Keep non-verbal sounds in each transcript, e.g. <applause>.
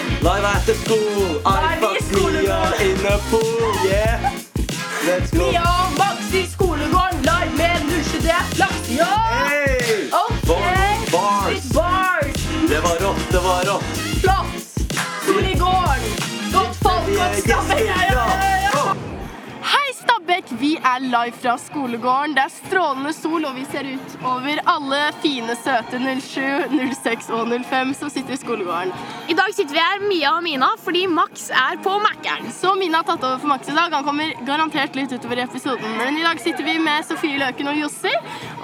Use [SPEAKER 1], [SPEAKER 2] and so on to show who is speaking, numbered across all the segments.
[SPEAKER 1] Da er vi i
[SPEAKER 2] the pool. I fuck me
[SPEAKER 1] skolegården.
[SPEAKER 2] up in the pool, yeah. Let's go.
[SPEAKER 1] Mia og Max i skolegården, live med lusjedrep,
[SPEAKER 2] Eh,
[SPEAKER 1] laksejobb!
[SPEAKER 2] Hey!
[SPEAKER 1] Ok!
[SPEAKER 2] Bar- Bars.
[SPEAKER 1] Litt bars!
[SPEAKER 2] Det var rått, det var rått.
[SPEAKER 1] Flott! Skolegården! Godt folk, godt stabbekk! Ja, ja, ja, ja.
[SPEAKER 3] Hei, Stabekk! Vi er live fra skolegården. Det er strålende sol, og vi ser ut over alle fine, søte 07, 06 og 05 som sitter i skolegården.
[SPEAKER 4] I dag sitter vi her, Mia og Mina, fordi Max er på Mækkern.
[SPEAKER 3] Så Mina har tatt over for Max i dag. Han kommer garantert litt utover i episoden. Men i dag sitter vi med Sofie Løken og Jossi.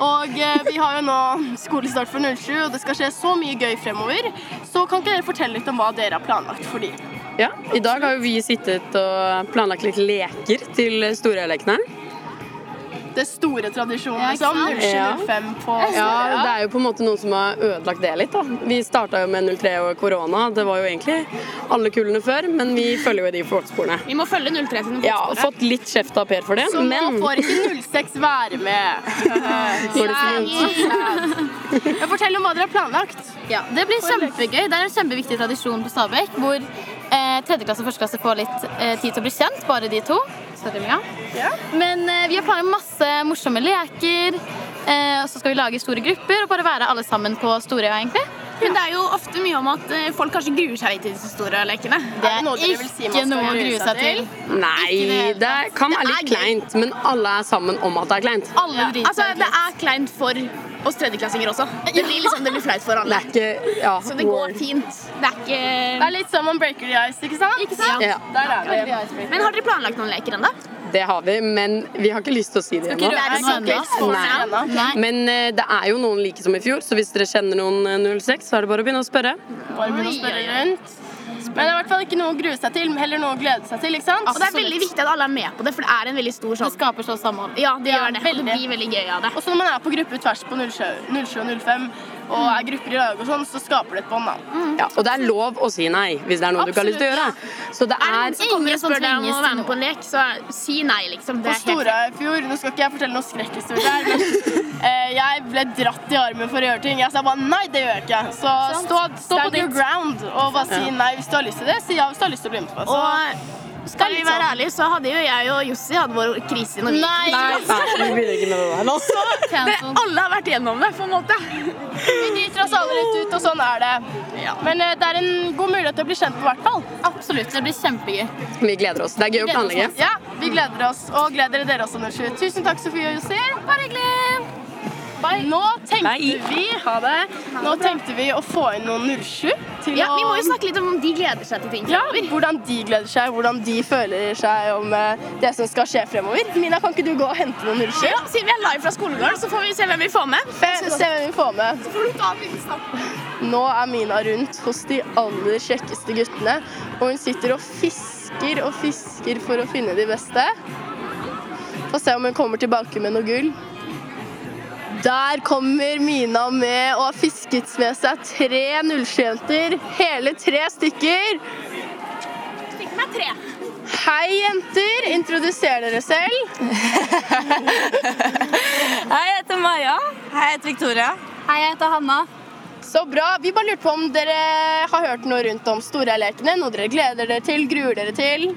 [SPEAKER 3] Og eh, vi har jo nå skolestart for 07, og det skal skje så mye gøy fremover. Så kan ikke dere fortelle litt om hva dere har planlagt for de?
[SPEAKER 5] Ja, I dag har jo vi sittet og planlagt litt leker til storelekene.
[SPEAKER 3] Det store tradisjonen,
[SPEAKER 4] Ja, ikke
[SPEAKER 3] liksom. 07-05
[SPEAKER 4] sant?
[SPEAKER 3] på
[SPEAKER 5] Ja, Det er jo på en måte noen som har ødelagt det litt. da. Vi starta jo med 03 og korona. Det var jo egentlig alle kullene før, men vi følger jo de fotsporene.
[SPEAKER 4] Vi må følge 03 sine
[SPEAKER 5] Ja,
[SPEAKER 4] fotspor.
[SPEAKER 5] fått litt kjeft av Per for det,
[SPEAKER 3] Så
[SPEAKER 5] men
[SPEAKER 3] nå får ikke 06 være med.
[SPEAKER 5] går det fint.
[SPEAKER 3] Men Fortell om hva dere har planlagt.
[SPEAKER 6] Ja, Det blir kjempegøy. Det er en kjempeviktig tradisjon på Stabekk hvor eh, tredjeklasse og førsteklasse får litt eh, tid til å bli kjent, bare de to. Sorry, Mia. Men eh, vi har planlagt masse morsomme leker. Eh, og så skal vi lage store grupper og bare være alle sammen på Storøya, egentlig.
[SPEAKER 4] Men det er jo ofte mye om at eh, folk kanskje gruer seg litt til disse store lekene.
[SPEAKER 3] Det er noe dere vil si man
[SPEAKER 6] ikke
[SPEAKER 3] skal
[SPEAKER 6] noe å grue seg til.
[SPEAKER 5] Nei, det kan være litt kleint, men alle er sammen om at det er kleint.
[SPEAKER 6] Alle driter
[SPEAKER 4] Altså,
[SPEAKER 6] seg
[SPEAKER 4] det
[SPEAKER 6] ut.
[SPEAKER 4] er kleint for oss tredjeklassinger også. Det blir liksom, det blir flaut for <laughs>
[SPEAKER 5] Det
[SPEAKER 4] alle.
[SPEAKER 5] er ikke Ja.
[SPEAKER 4] Så det går
[SPEAKER 5] word.
[SPEAKER 4] fint. Det er
[SPEAKER 3] Det
[SPEAKER 4] ikke
[SPEAKER 3] er litt som om Breaker the Ice, ikke sant?
[SPEAKER 4] Ikke sant?
[SPEAKER 5] Ja,
[SPEAKER 3] Der er vi.
[SPEAKER 4] Men har dere planlagt noen leker ennå?
[SPEAKER 5] det har vi, men vi har ikke lyst til å si det ennå.
[SPEAKER 6] røpe
[SPEAKER 4] Det er
[SPEAKER 6] noe
[SPEAKER 4] sikkert
[SPEAKER 6] ennå.
[SPEAKER 4] spennende.
[SPEAKER 3] Nei.
[SPEAKER 6] Nei.
[SPEAKER 5] Men eh, det er jo noen like som i fjor, så hvis dere kjenner noen eh, 06, så er det bare å begynne å spørre.
[SPEAKER 3] Bare begynn å spørre rundt. Men det er i hvert fall ikke noe å grue seg til, men heller noe å glede seg til. ikke sant?
[SPEAKER 4] Og det er veldig viktig at alle er med på det, for det er en veldig stor
[SPEAKER 6] Det
[SPEAKER 4] sånn
[SPEAKER 6] skaper så samhold.
[SPEAKER 4] Ja, det gjør det. Og
[SPEAKER 3] veldig.
[SPEAKER 4] det blir veldig gøy av det.
[SPEAKER 3] Og så når man er på gruppe tvers på 07 07 og 05 og er grupper i lag og sånn, så skaper det et bånd. da.
[SPEAKER 5] Ja, og det er lov å si nei hvis det er noe du ikke har lyst til å gjøre. Så det
[SPEAKER 4] Er det sånn noen
[SPEAKER 5] er
[SPEAKER 4] som
[SPEAKER 6] ingen som
[SPEAKER 4] kommer og spør deg om å
[SPEAKER 6] tvinges
[SPEAKER 4] være
[SPEAKER 6] til
[SPEAKER 4] med på en lek, så si nei, liksom. Det
[SPEAKER 3] På
[SPEAKER 4] er helt
[SPEAKER 3] Stora i fjor Nå skal ikke jeg fortelle noen skrekkhistorie her, men
[SPEAKER 4] <laughs>
[SPEAKER 3] eh, jeg ble dratt i armen for å gjøre ting. Jeg sa bare nei, det gjør jeg ikke. Så stå, stå på
[SPEAKER 6] Stand
[SPEAKER 3] your
[SPEAKER 6] it.
[SPEAKER 3] ground og bare si nei hvis du har lyst til det. Si ja hvis du har lyst til å bli med på det. Så-
[SPEAKER 4] Og skal vi være ærlige, så hadde jo jeg og Jossi hatt vår krise når vi
[SPEAKER 6] Nei,
[SPEAKER 5] Nei, vi begynner ikke med det der nå.
[SPEAKER 6] cancel.
[SPEAKER 4] Alle har vært gjennom det, på en <laughs> måte.
[SPEAKER 3] Vi driter oss alle litt ut, og sånn er det. Men eh, det er en god mulighet til å bli kjent, i hvert fall.
[SPEAKER 6] Absolutt. Det blir kjempegøy.
[SPEAKER 5] Vi gleder oss. Det er gøy å planlegge.
[SPEAKER 3] Ja, vi gleder oss, og gleder dere også, Nushu. Tusen takk, Sofie og Jussi. Bare hyggelig. Nå tenkte
[SPEAKER 5] Bye.
[SPEAKER 3] vi ha det. Nå tenkte vi å få inn noen 07 til
[SPEAKER 4] Ja, vi må
[SPEAKER 3] å
[SPEAKER 4] jo snakke litt om om de gleder seg til ting.
[SPEAKER 3] ja, hvordan de gleder seg, hvordan de føler seg om eh, det som skal skje fremover. Mina, kan ikke du gå og hente noen 07?
[SPEAKER 4] Ja, siden vi er live fra skolegården, så får vi se hvem vi får med.
[SPEAKER 3] Eh, Se hvem vi får med. Nå er Mina rundt hos de aller kjekkeste guttene, og hun sitter og fisker og fisker for å finne de beste. Få se om hun kommer tilbake med noe gull. Der kommer Mina med og har fisket med seg tre nullsjenter. Hele tre stykker. Hei, jenter. Introduser dere selv.
[SPEAKER 7] Hei, jeg heter Maja. Hei, jeg heter Victoria.
[SPEAKER 6] Hei, jeg heter Hanna.
[SPEAKER 3] Så bra. Vi bare lurte på om dere har hørt noe rundt om Storheilekene. Noe dere gleder dere til, gruer dere til?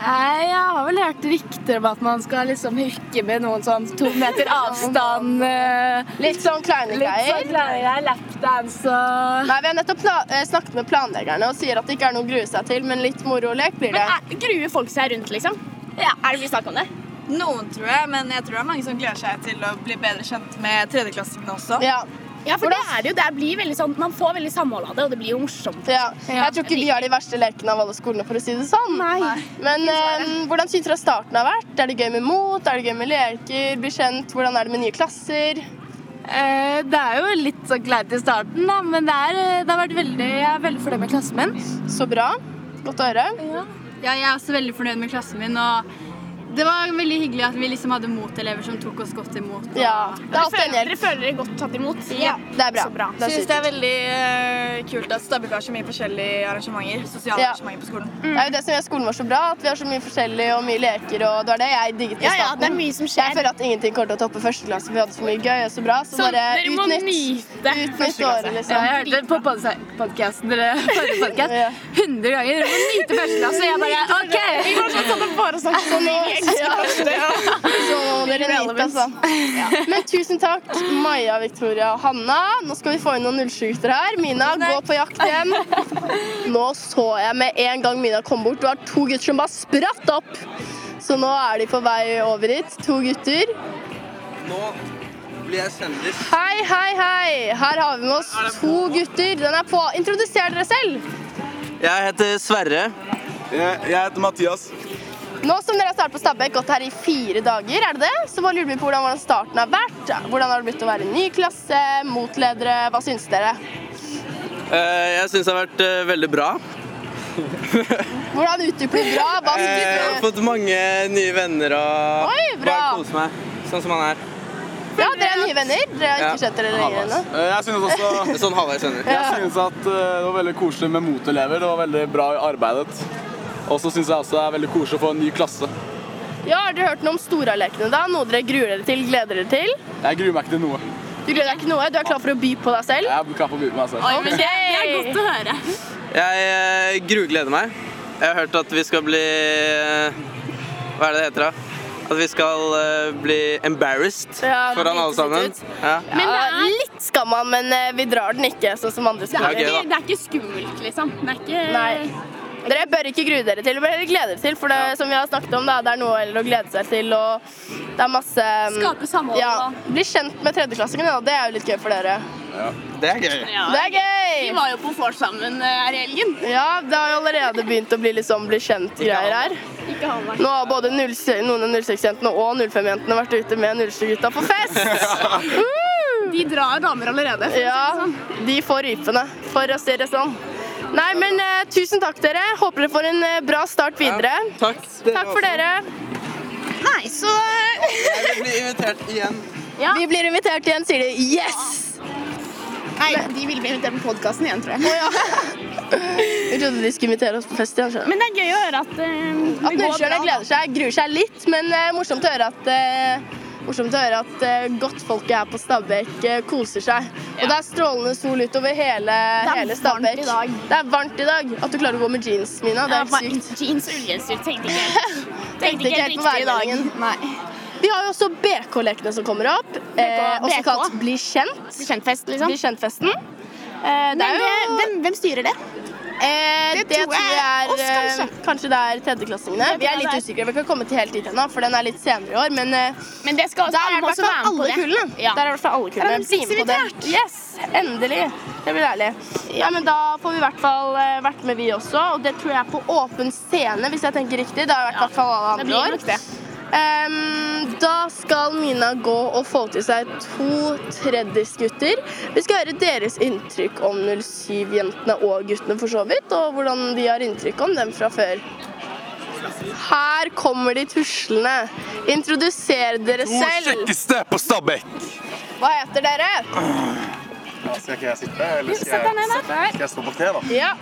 [SPEAKER 7] Hei, jeg har vel hørt rykter om at man skal liksom hooke med noen sånn to meter avstand. eh,
[SPEAKER 3] Litt sånn kleine
[SPEAKER 7] Litt
[SPEAKER 3] greier.
[SPEAKER 7] sånn greier. Lapdance og
[SPEAKER 3] Nei, Vi har nettopp pla eh, snakket med planleggerne og sier at det ikke er noe å grue seg til, men litt moro og lek blir det.
[SPEAKER 4] Er- Gruer folk seg rundt, liksom?
[SPEAKER 7] Ja.
[SPEAKER 4] Er det mye snakk om det?
[SPEAKER 8] Noen, tror jeg, men jeg tror det er mange som gleder seg til å bli bedre kjent med tredjeklassingene også.
[SPEAKER 3] Ja,
[SPEAKER 4] Ja, for det er det jo. Det blir veldig sånn, man får veldig samhold av det, og det blir jo morsomt.
[SPEAKER 3] ja. Jeg tror ikke vi har de verste lekene av alle skolene, for å si det sånn. Men eh, hvordan syns dere starten har vært? Er det gøy med mot? Er det gøy med leker? Bli kjent? Hvordan er det med nye klasser?
[SPEAKER 7] Eh, Det er jo litt sånn kleint i starten, da, men det, er, eh, det har vært veldig, jeg er veldig fornøyd med klassen min.
[SPEAKER 3] Så bra. Godt å høre.
[SPEAKER 6] Ja, jeg er også veldig fornøyd med klassen min, og
[SPEAKER 9] Det var veldig hyggelig at vi liksom hadde motelever som tok oss godt imot. og-
[SPEAKER 4] Ja, det er alltid en
[SPEAKER 10] Dere
[SPEAKER 4] hjelp.
[SPEAKER 10] føler dere godt tatt imot?
[SPEAKER 8] Ja.
[SPEAKER 4] Det er bra.
[SPEAKER 10] Så bra.
[SPEAKER 4] Det er
[SPEAKER 8] Syns det
[SPEAKER 4] supert.
[SPEAKER 8] er veldig eh, kult at Stabekk har så mye forskjellige arrangementer. Sosiale
[SPEAKER 4] Ja.
[SPEAKER 8] arrangementer på skolen.
[SPEAKER 4] Det er jo det som gjør skolen vår så bra, at vi har så mye forskjellig og mye leker, og det var det jeg digget i
[SPEAKER 10] Ja, ja,
[SPEAKER 4] starten.
[SPEAKER 10] det er mye som
[SPEAKER 4] Jeg
[SPEAKER 10] skjer.
[SPEAKER 4] føler at ingenting kommer til å toppe første klasse, for vi hadde så mye gøy og så bra, så,
[SPEAKER 10] Så
[SPEAKER 4] bare
[SPEAKER 10] dere må
[SPEAKER 4] utnytt,
[SPEAKER 10] nyte
[SPEAKER 4] utnytt året, liksom.
[SPEAKER 9] Jeg hørte på podkasten dere <laughs> forrige podcast,
[SPEAKER 4] Ja.
[SPEAKER 9] 100 ganger. Dere må nyte første klasse. Jeg bare OK!
[SPEAKER 4] Så nå, <laughs> ja. så nå må dere nyte, altså. Men tusen takk, Maja, Victoria og Hanna. Nå skal vi få inn noen 07-gutter her. Mina, gå på jakt igjen. Nå så jeg med en gang Mina kom bort, det var to gutter som bare spratt opp. Så nå er de på vei over hit, to gutter.
[SPEAKER 2] Nå blir jeg kjendis.
[SPEAKER 4] Hei, hei, hei. Her har vi med oss to gutter. Den er på. Introduser dere selv.
[SPEAKER 2] Jeg heter Sverre. Jeg, heter Mathias.
[SPEAKER 4] Nå som dere har startet på Stabæk, gått her i fire dager, er det det? Så bare lurer vi på hvordan, hvordan starten har vært. Hvordan har det blitt å være i ny klasse, motledere, hva syns dere?
[SPEAKER 2] jeg syns det har vært eh, veldig bra.
[SPEAKER 4] Hvordan utdyper Altså, du bra? Hva
[SPEAKER 2] Eh,
[SPEAKER 4] syns
[SPEAKER 2] Jeg har
[SPEAKER 4] du?
[SPEAKER 2] fått mange nye venner og
[SPEAKER 4] Oi, bra.
[SPEAKER 2] bare kose meg sånn som han er.
[SPEAKER 4] Ja, dere er nye venner. Dere har
[SPEAKER 2] Ja.
[SPEAKER 4] ikke sett dere lenger ennå.
[SPEAKER 11] Eh, Jeg
[SPEAKER 2] <laughs>
[SPEAKER 11] synes også
[SPEAKER 2] Sånn halvveis venner.
[SPEAKER 11] jeg synes at eh, det var veldig koselig med motelever. Det var veldig bra arbeidet. Og så synes jeg også det er veldig koselig å få en ny klasse.
[SPEAKER 4] Ja, har dere hørt noe om Storalekene, da? Noe dere gruer dere til, gleder dere til?
[SPEAKER 11] Jeg gruer meg ikke til noe.
[SPEAKER 4] Du gleder deg ikke noe? Du er klar for å by på deg selv?
[SPEAKER 11] Jeg er klar for å by på meg selv.
[SPEAKER 4] Ok.
[SPEAKER 2] Jeg eh, grugleder meg. Jeg har hørt at vi skal bli eh, Hva er det det heter, da? At vi skal eh, bli embarrassed
[SPEAKER 4] Ja,
[SPEAKER 2] foran alle sammen.
[SPEAKER 4] drite seg
[SPEAKER 2] Ja.
[SPEAKER 4] Men det er litt skamma, men eh, vi drar den ikke, sånn som andre
[SPEAKER 2] Det
[SPEAKER 4] skoler.
[SPEAKER 2] er gøy, da.
[SPEAKER 9] er ikke skummelt, liksom. Det er ikke
[SPEAKER 4] Nei. Dere bør ikke grue dere til, men dere gleder dere til. For det som vi har snakket om, da, det er noe heller å glede seg til, og det er masse um,
[SPEAKER 9] samhold.
[SPEAKER 4] ja, Bli kjent med tredjeklassingene, da. Det er jo litt gøy for dere.
[SPEAKER 2] Det er gøy.
[SPEAKER 4] Det er
[SPEAKER 9] Vi
[SPEAKER 4] gøy!
[SPEAKER 9] var jo på vors sammen her i helgen.
[SPEAKER 4] Ja, det har jo allerede begynt å bli litt sånn bli kjent-greier her. Nå har både 06 noen av 06-jentene og 05-jentene vært ute med 07-gutta på fest! Woo!
[SPEAKER 9] De drar damer allerede.
[SPEAKER 4] Ja, de får rypene, for å si det sånn. Nei, men eh, tusen takk, dere. Håper dere får en eh, bra start videre.
[SPEAKER 2] Takk.
[SPEAKER 4] Takk for dere.
[SPEAKER 2] <laughs> Jeg blir invitert igjen.
[SPEAKER 4] Vi blir invitert igjen, sier de. Yes!
[SPEAKER 10] Nei, de ville bli invitert på podkasten igjen, tror jeg.
[SPEAKER 4] Vi trodde de skulle invitere oss på fest igjen. skjønner du.
[SPEAKER 10] Men det er gøy å høre at eh,
[SPEAKER 4] At Nullskjøla gleder seg, gruer seg litt, men eh, morsomt å høre at eh, Morsomt å høre at eh, godtfolket her på Stabekk eh, koser seg. Og det er strålende sol utover hele,
[SPEAKER 10] er varmt i
[SPEAKER 4] hele Stabekk.
[SPEAKER 10] dag.
[SPEAKER 4] Det er varmt i dag. At du klarer å gå med jeans, Mina, det er helt sykt.
[SPEAKER 10] Jeans og ullgenser. Tenkte ikke
[SPEAKER 4] <laughs>
[SPEAKER 10] helt-
[SPEAKER 4] Tenkte ikke helt på
[SPEAKER 10] riktig i dag.
[SPEAKER 4] værmeldingen.
[SPEAKER 10] Nei.
[SPEAKER 4] Vi har jo også BK-lekene som kommer opp, eh,
[SPEAKER 10] BK.
[SPEAKER 4] også kalt Bli kjent.
[SPEAKER 10] Kjentfest, liksom.
[SPEAKER 4] Bli kjent-festen. Eh, det
[SPEAKER 10] Men
[SPEAKER 4] er
[SPEAKER 10] det-
[SPEAKER 4] jo
[SPEAKER 10] hvem, hvem styrer det?
[SPEAKER 4] Eh, det, tror jeg er
[SPEAKER 10] oss, kanskje.
[SPEAKER 4] eh, Kanskje det er tredjeklassingene. Vi er litt usikre. Vi kan komme til helt dit ennå, for den er litt senere i år. Men eh,
[SPEAKER 10] Men det skal
[SPEAKER 4] der er det i
[SPEAKER 10] alle
[SPEAKER 4] hvert
[SPEAKER 10] også
[SPEAKER 4] fall
[SPEAKER 10] være med på
[SPEAKER 4] alle
[SPEAKER 10] det.
[SPEAKER 4] kullene.
[SPEAKER 10] Ja.
[SPEAKER 4] Der er det i hvert fall alle kullene.
[SPEAKER 10] Ja, men
[SPEAKER 4] Bli med på
[SPEAKER 10] seksualitet.
[SPEAKER 4] det. Yes, endelig. Det blir deilig. Ja, men da får vi i hvert fall eh, vært med, vi også. Og det tror jeg er på åpen scene, hvis jeg tenker riktig. Det har vært i hvert fall alle
[SPEAKER 10] Det
[SPEAKER 4] andre
[SPEAKER 10] blir
[SPEAKER 4] år.
[SPEAKER 10] nok det.
[SPEAKER 4] Ehm, da skal Mina gå og få til seg to tredjesgutter. Vi skal høre deres inntrykk om 07-jentene og guttene for så vidt, og hvordan de har inntrykk om dem fra før. Her kommer de tuslende. Introduser dere selv.
[SPEAKER 11] kjekkeste på Stabekk!
[SPEAKER 4] Hva heter dere?
[SPEAKER 11] Skal ikke jeg sitte, eller skal
[SPEAKER 10] Sett deg ned der.
[SPEAKER 11] jeg stå på kne, da?
[SPEAKER 4] Ja.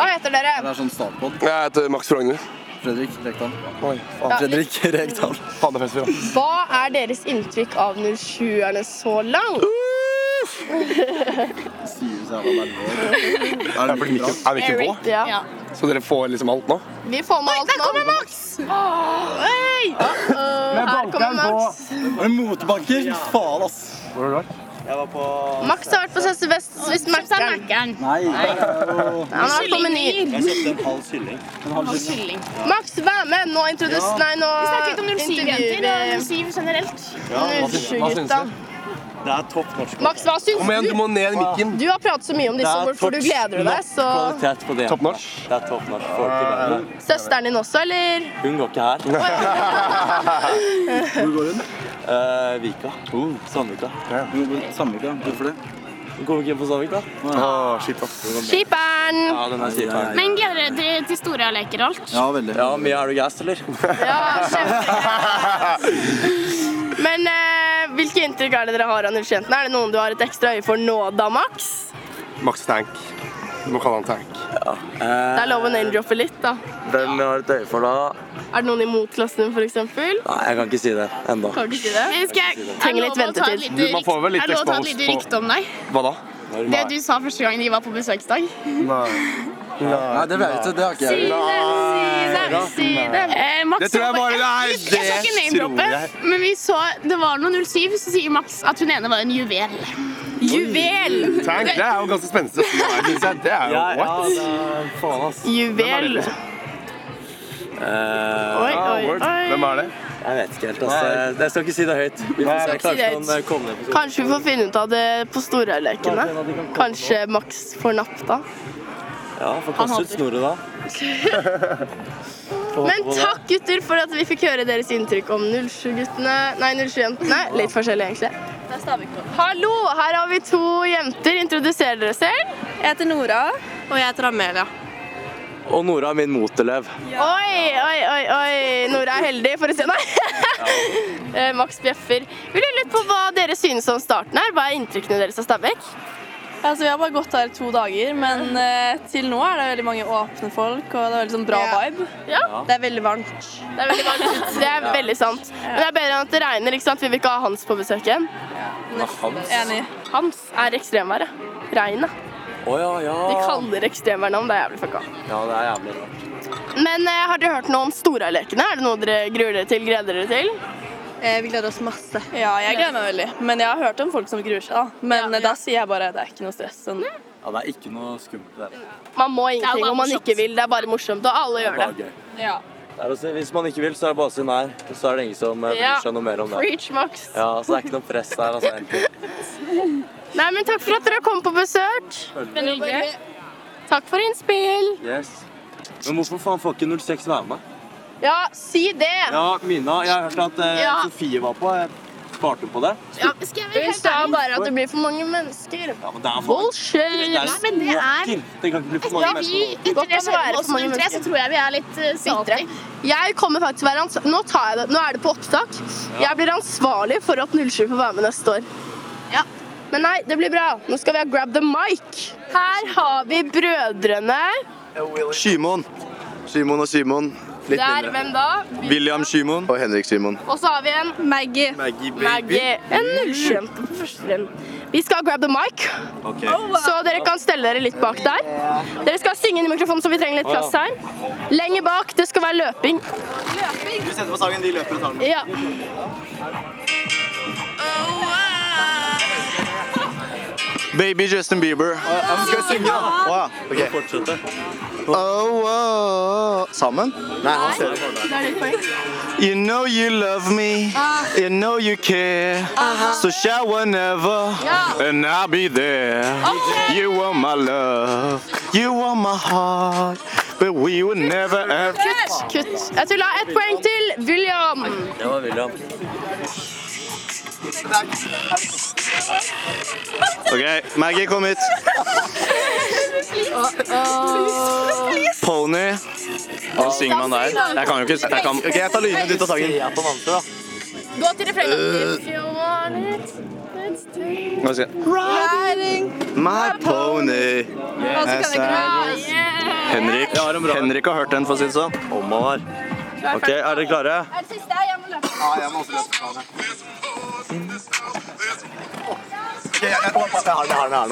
[SPEAKER 4] Hva heter dere?
[SPEAKER 11] er sånn startpod.
[SPEAKER 12] Jeg heter Max Frogner.
[SPEAKER 11] Fredrik Rekdal. Oi,
[SPEAKER 4] Ja.
[SPEAKER 11] faen. Fredrik Rekdal. Faen, det er fest, vi
[SPEAKER 4] Hva er deres inntrykk av 07-erne så langt?
[SPEAKER 2] <laughs>
[SPEAKER 11] da. Er det mye bra?
[SPEAKER 12] Er vi ikke på?
[SPEAKER 4] Ja.
[SPEAKER 12] Så dere får liksom alt nå?
[SPEAKER 4] Vi får med alt nå. Der kommer Max! Her kommer Max.
[SPEAKER 11] En motbanker? Faen, ass. Hvor var du?
[SPEAKER 2] Jeg var på
[SPEAKER 4] Max har vært på Søster Vest hvis Mac-eren.
[SPEAKER 11] Nei.
[SPEAKER 4] Han har vært på Meny.
[SPEAKER 2] Jeg kjøpte en halv kylling.
[SPEAKER 4] Max, vær med! Nå introdus... Nei, nå
[SPEAKER 10] Vi snakker litt om 07-jenter og 07 generelt.
[SPEAKER 4] gutta
[SPEAKER 2] Det er topp norsk.
[SPEAKER 4] Max, hva syns
[SPEAKER 12] Kom igjen, du
[SPEAKER 4] du?
[SPEAKER 12] må ned i mikken.
[SPEAKER 4] Du har pratet så mye om disse, hvorfor du gleder deg, så
[SPEAKER 2] Kvalitet på det.
[SPEAKER 12] Topp norsk.
[SPEAKER 2] Det er topp norsk. Folk i verden.
[SPEAKER 4] Søsteren din også, eller?
[SPEAKER 2] Hun går ikke her. Hvor
[SPEAKER 11] Eh, Oh,
[SPEAKER 2] går hun? Vika. Sandvika. Sandvika. Hvorfor det?
[SPEAKER 11] Går vi ikke inn på Stavik, da?
[SPEAKER 12] Ah, kjipt, ass.
[SPEAKER 4] Skipperen!
[SPEAKER 11] Ja, den er kjip.
[SPEAKER 3] Men gleder dere
[SPEAKER 10] Eh,
[SPEAKER 3] dere til store leker og alt?
[SPEAKER 11] Ja, veldig. Ja, mye er du gass, eller?
[SPEAKER 4] Men eh, hvilke inntrykk er det dere har av nullkjentene? Er det noen du har et ekstra øye for nå da, Max?
[SPEAKER 12] Max Tank. Du må kalle han Tank.
[SPEAKER 11] Ja.
[SPEAKER 4] Det er lov å name-droppe litt, da.
[SPEAKER 11] Hvem jeg har et øye for da?
[SPEAKER 4] Er det noen imot klassen din, f.eks.?
[SPEAKER 11] Nei, jeg kan ikke si det ennå.
[SPEAKER 4] Kan du ikke si det?
[SPEAKER 3] Men skal jeg, er
[SPEAKER 4] Trenger
[SPEAKER 3] det
[SPEAKER 4] litt
[SPEAKER 3] lov å ta et
[SPEAKER 4] ventetid.
[SPEAKER 3] lite
[SPEAKER 11] Du, man får vel litt
[SPEAKER 3] rykt- er det lov å ta et
[SPEAKER 11] exposed
[SPEAKER 3] lite
[SPEAKER 11] på-
[SPEAKER 3] rykte om deg?
[SPEAKER 11] Hva da?
[SPEAKER 3] Det du sa første gang de var på besøksdag.
[SPEAKER 11] Nei. Nei, det vet jeg. Det har ikke jeg.
[SPEAKER 3] Eh, Max
[SPEAKER 11] Det tror jeg
[SPEAKER 3] sa-
[SPEAKER 11] bare- nei,
[SPEAKER 3] Jeg skal ikke
[SPEAKER 11] det
[SPEAKER 3] name-droppe,
[SPEAKER 11] tror jeg.
[SPEAKER 3] men vi så det var noen 07, så sier Max at hun ene var en juvel. Juvel!
[SPEAKER 12] Tank, det er jo ganske spenstig. å si her, synes jeg. Det er jo what?
[SPEAKER 11] faen, ass.
[SPEAKER 4] Juvel.
[SPEAKER 11] oi,
[SPEAKER 4] oi, oi.
[SPEAKER 11] Ah, Hvem er det? Eh, Jeg vet ikke helt, ass. Jeg skal ikke si det høyt. Vi får se.
[SPEAKER 4] Ikke si det
[SPEAKER 11] Kanskje
[SPEAKER 4] høyt.
[SPEAKER 11] han eh, kommer ned på skolen.
[SPEAKER 4] Kanskje vi får finne ut av det på Storhauglekene? Kanskje Max får napp da?
[SPEAKER 11] Ja, får kaste ut snoret da. Får
[SPEAKER 4] Men
[SPEAKER 11] håpe på det.
[SPEAKER 4] takk, gutter, for at vi fikk høre deres inntrykk om 07-guttene Nei, 07-jentene. Litt forskjellig, egentlig. Hallo, her har vi to jenter. Introduserer dere selv. Jeg heter Nora. Og jeg heter Amelia.
[SPEAKER 11] Og Nora er min motelev.
[SPEAKER 4] Oi, oi, oi, oi. Nora er heldig, for å si Nei. <laughs> Eh, Max bjeffer. Vi lurer litt på hva dere synes om starten her. Hva er inntrykkene deres av Stabekk?
[SPEAKER 5] Altså, vi har bare gått her i to dager,
[SPEAKER 4] Mm.
[SPEAKER 5] men eh, til nå er det veldig mange åpne folk, og det er veldig sånn bra vibe. Det er veldig varmt.
[SPEAKER 4] Det er veldig varmt ute. Det er
[SPEAKER 5] Ja.
[SPEAKER 4] veldig sant. Men det er bedre enn at det regner. ikke sant? Vi vil ikke ha Hans på besøk igjen.
[SPEAKER 5] Enig.
[SPEAKER 4] Hans er ekstremværet. Regnet.
[SPEAKER 11] Å ja, ja.
[SPEAKER 4] De kaller ekstremværet navn. Det er jævlig fucka.
[SPEAKER 11] Ja, det er jævlig rart.
[SPEAKER 4] Men eh, har dere hørt noe om Storalekene? Er det noe dere gruer dere til? Gleder dere til?
[SPEAKER 5] Eh, vi gleder oss masse. Ja, jeg gleder meg veldig. Men jeg har hørt om folk som gruer seg, da. Men eh, da sier jeg bare det er ikke noe stress. Sånn.
[SPEAKER 11] Ja, det er ikke noe skummelt der.
[SPEAKER 4] Man må ingenting
[SPEAKER 5] bare
[SPEAKER 4] om man
[SPEAKER 5] morsomt.
[SPEAKER 4] ikke vil. Det er bare morsomt, og alle
[SPEAKER 11] Det er
[SPEAKER 4] gjør
[SPEAKER 11] bare
[SPEAKER 4] det.
[SPEAKER 11] gøy. Det er å si, hvis man ikke vil, så er det bare å si nei. Så er det ingen som eh,
[SPEAKER 4] Ja.
[SPEAKER 11] bryr seg noe mer om det.
[SPEAKER 4] Preach, Max.
[SPEAKER 11] Ja, så det er ikke noe press her, altså. egentlig.
[SPEAKER 4] Nei, men takk for at dere kom på besøk.
[SPEAKER 11] Veldig
[SPEAKER 4] hyggelig. Takk for innspill.
[SPEAKER 11] Yes. Men hvorfor faen får ikke 06 være med?
[SPEAKER 4] Ja, si det.
[SPEAKER 11] Ja, Mina, jeg har hørt at eh,
[SPEAKER 4] Ja.
[SPEAKER 11] Sofie var på. Jeg sparte på det.
[SPEAKER 4] Hun sa bare at det blir for mange mennesker.
[SPEAKER 11] Ja, men det er faen
[SPEAKER 4] Bullshit.
[SPEAKER 11] Det er
[SPEAKER 3] Nei, men det er-
[SPEAKER 11] småkker. Det kan ikke bli for mange
[SPEAKER 3] Etter vi
[SPEAKER 11] mennesker.
[SPEAKER 3] etter
[SPEAKER 4] Godt
[SPEAKER 3] det
[SPEAKER 4] å være
[SPEAKER 3] møtet
[SPEAKER 4] for
[SPEAKER 3] oss
[SPEAKER 4] mange
[SPEAKER 3] rundt tre, så
[SPEAKER 4] mennesker.
[SPEAKER 3] tror jeg vi er litt eh, salty.
[SPEAKER 4] Jeg kommer faktisk til å være ans- Nå tar jeg det. Nå er det på opptak. Jeg blir ansvarlig for at 07 får være med neste år. Men nei, det blir bra. Nå skal vi ha Grab the mic. Her har vi brødrene.
[SPEAKER 2] Simon. Simon og Simon.
[SPEAKER 4] Det er hvem da?
[SPEAKER 2] William Simon. Og Henrik Simon.
[SPEAKER 4] Og så har vi en Maggie.
[SPEAKER 2] Maggie, baby.
[SPEAKER 4] Maggie. En nullkjempe på første trinn. Vi skal ha Grab the mic,
[SPEAKER 2] Ok.
[SPEAKER 4] så dere kan stelle dere litt bak der. Dere skal synge inn i mikrofonen, så vi trenger litt plass her. Lenger bak. Det skal være løping.
[SPEAKER 2] Du setter på sangen, de løper og tar
[SPEAKER 4] Ja.
[SPEAKER 2] Baby Justin Bieber.
[SPEAKER 11] Skal jeg synge, da?
[SPEAKER 2] Å ja, ok.
[SPEAKER 11] Fortsette.
[SPEAKER 2] Oh, oh. Sammen? Nei, han ser You know you love me, you know you care. So shout whenever, and I'll be there. You are my love, you are my heart. But we will never ever
[SPEAKER 4] Kutt. Kutt. Jeg tulla. Ett poeng til William.
[SPEAKER 11] Det var William.
[SPEAKER 2] OK, Maggie, kom hit. Pony. Hva synger man der? Jeg kan jo ikke jeg kan... OK, jeg tar lydene ut av sangen.
[SPEAKER 4] Gå til refrenget.
[SPEAKER 2] Øh.
[SPEAKER 4] If you want it, let's do it.
[SPEAKER 2] Hva skal jeg- My pony. Yes, I- Henrik. Henrik har hørt den, for å si det sånn. Om han har. OK, er dere klare?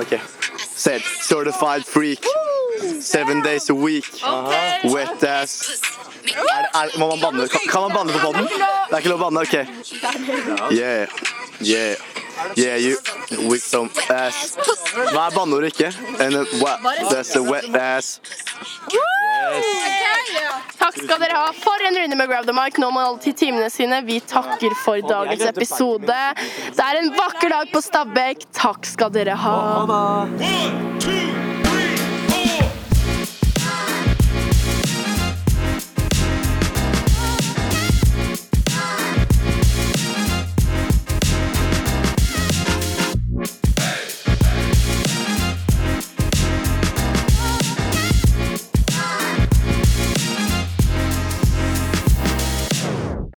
[SPEAKER 2] Okay. Said certified freak. Seven days a week. Wet ass. Er, er, må man banne? Kan, kan man banne på podden? Det er ikke lov å banne? OK. Yeah. Yeah. Yeah, you with some ass. Hva er banneord ikke? And a wet, that's a wet ass.
[SPEAKER 4] Takk skal dere ha for en runde med Grab the Mic. Nå må alle til timene sine. Vi takker for dagens episode. Det er en vakker dag på Stabekk. Takk skal dere ha.
[SPEAKER 11] One, two,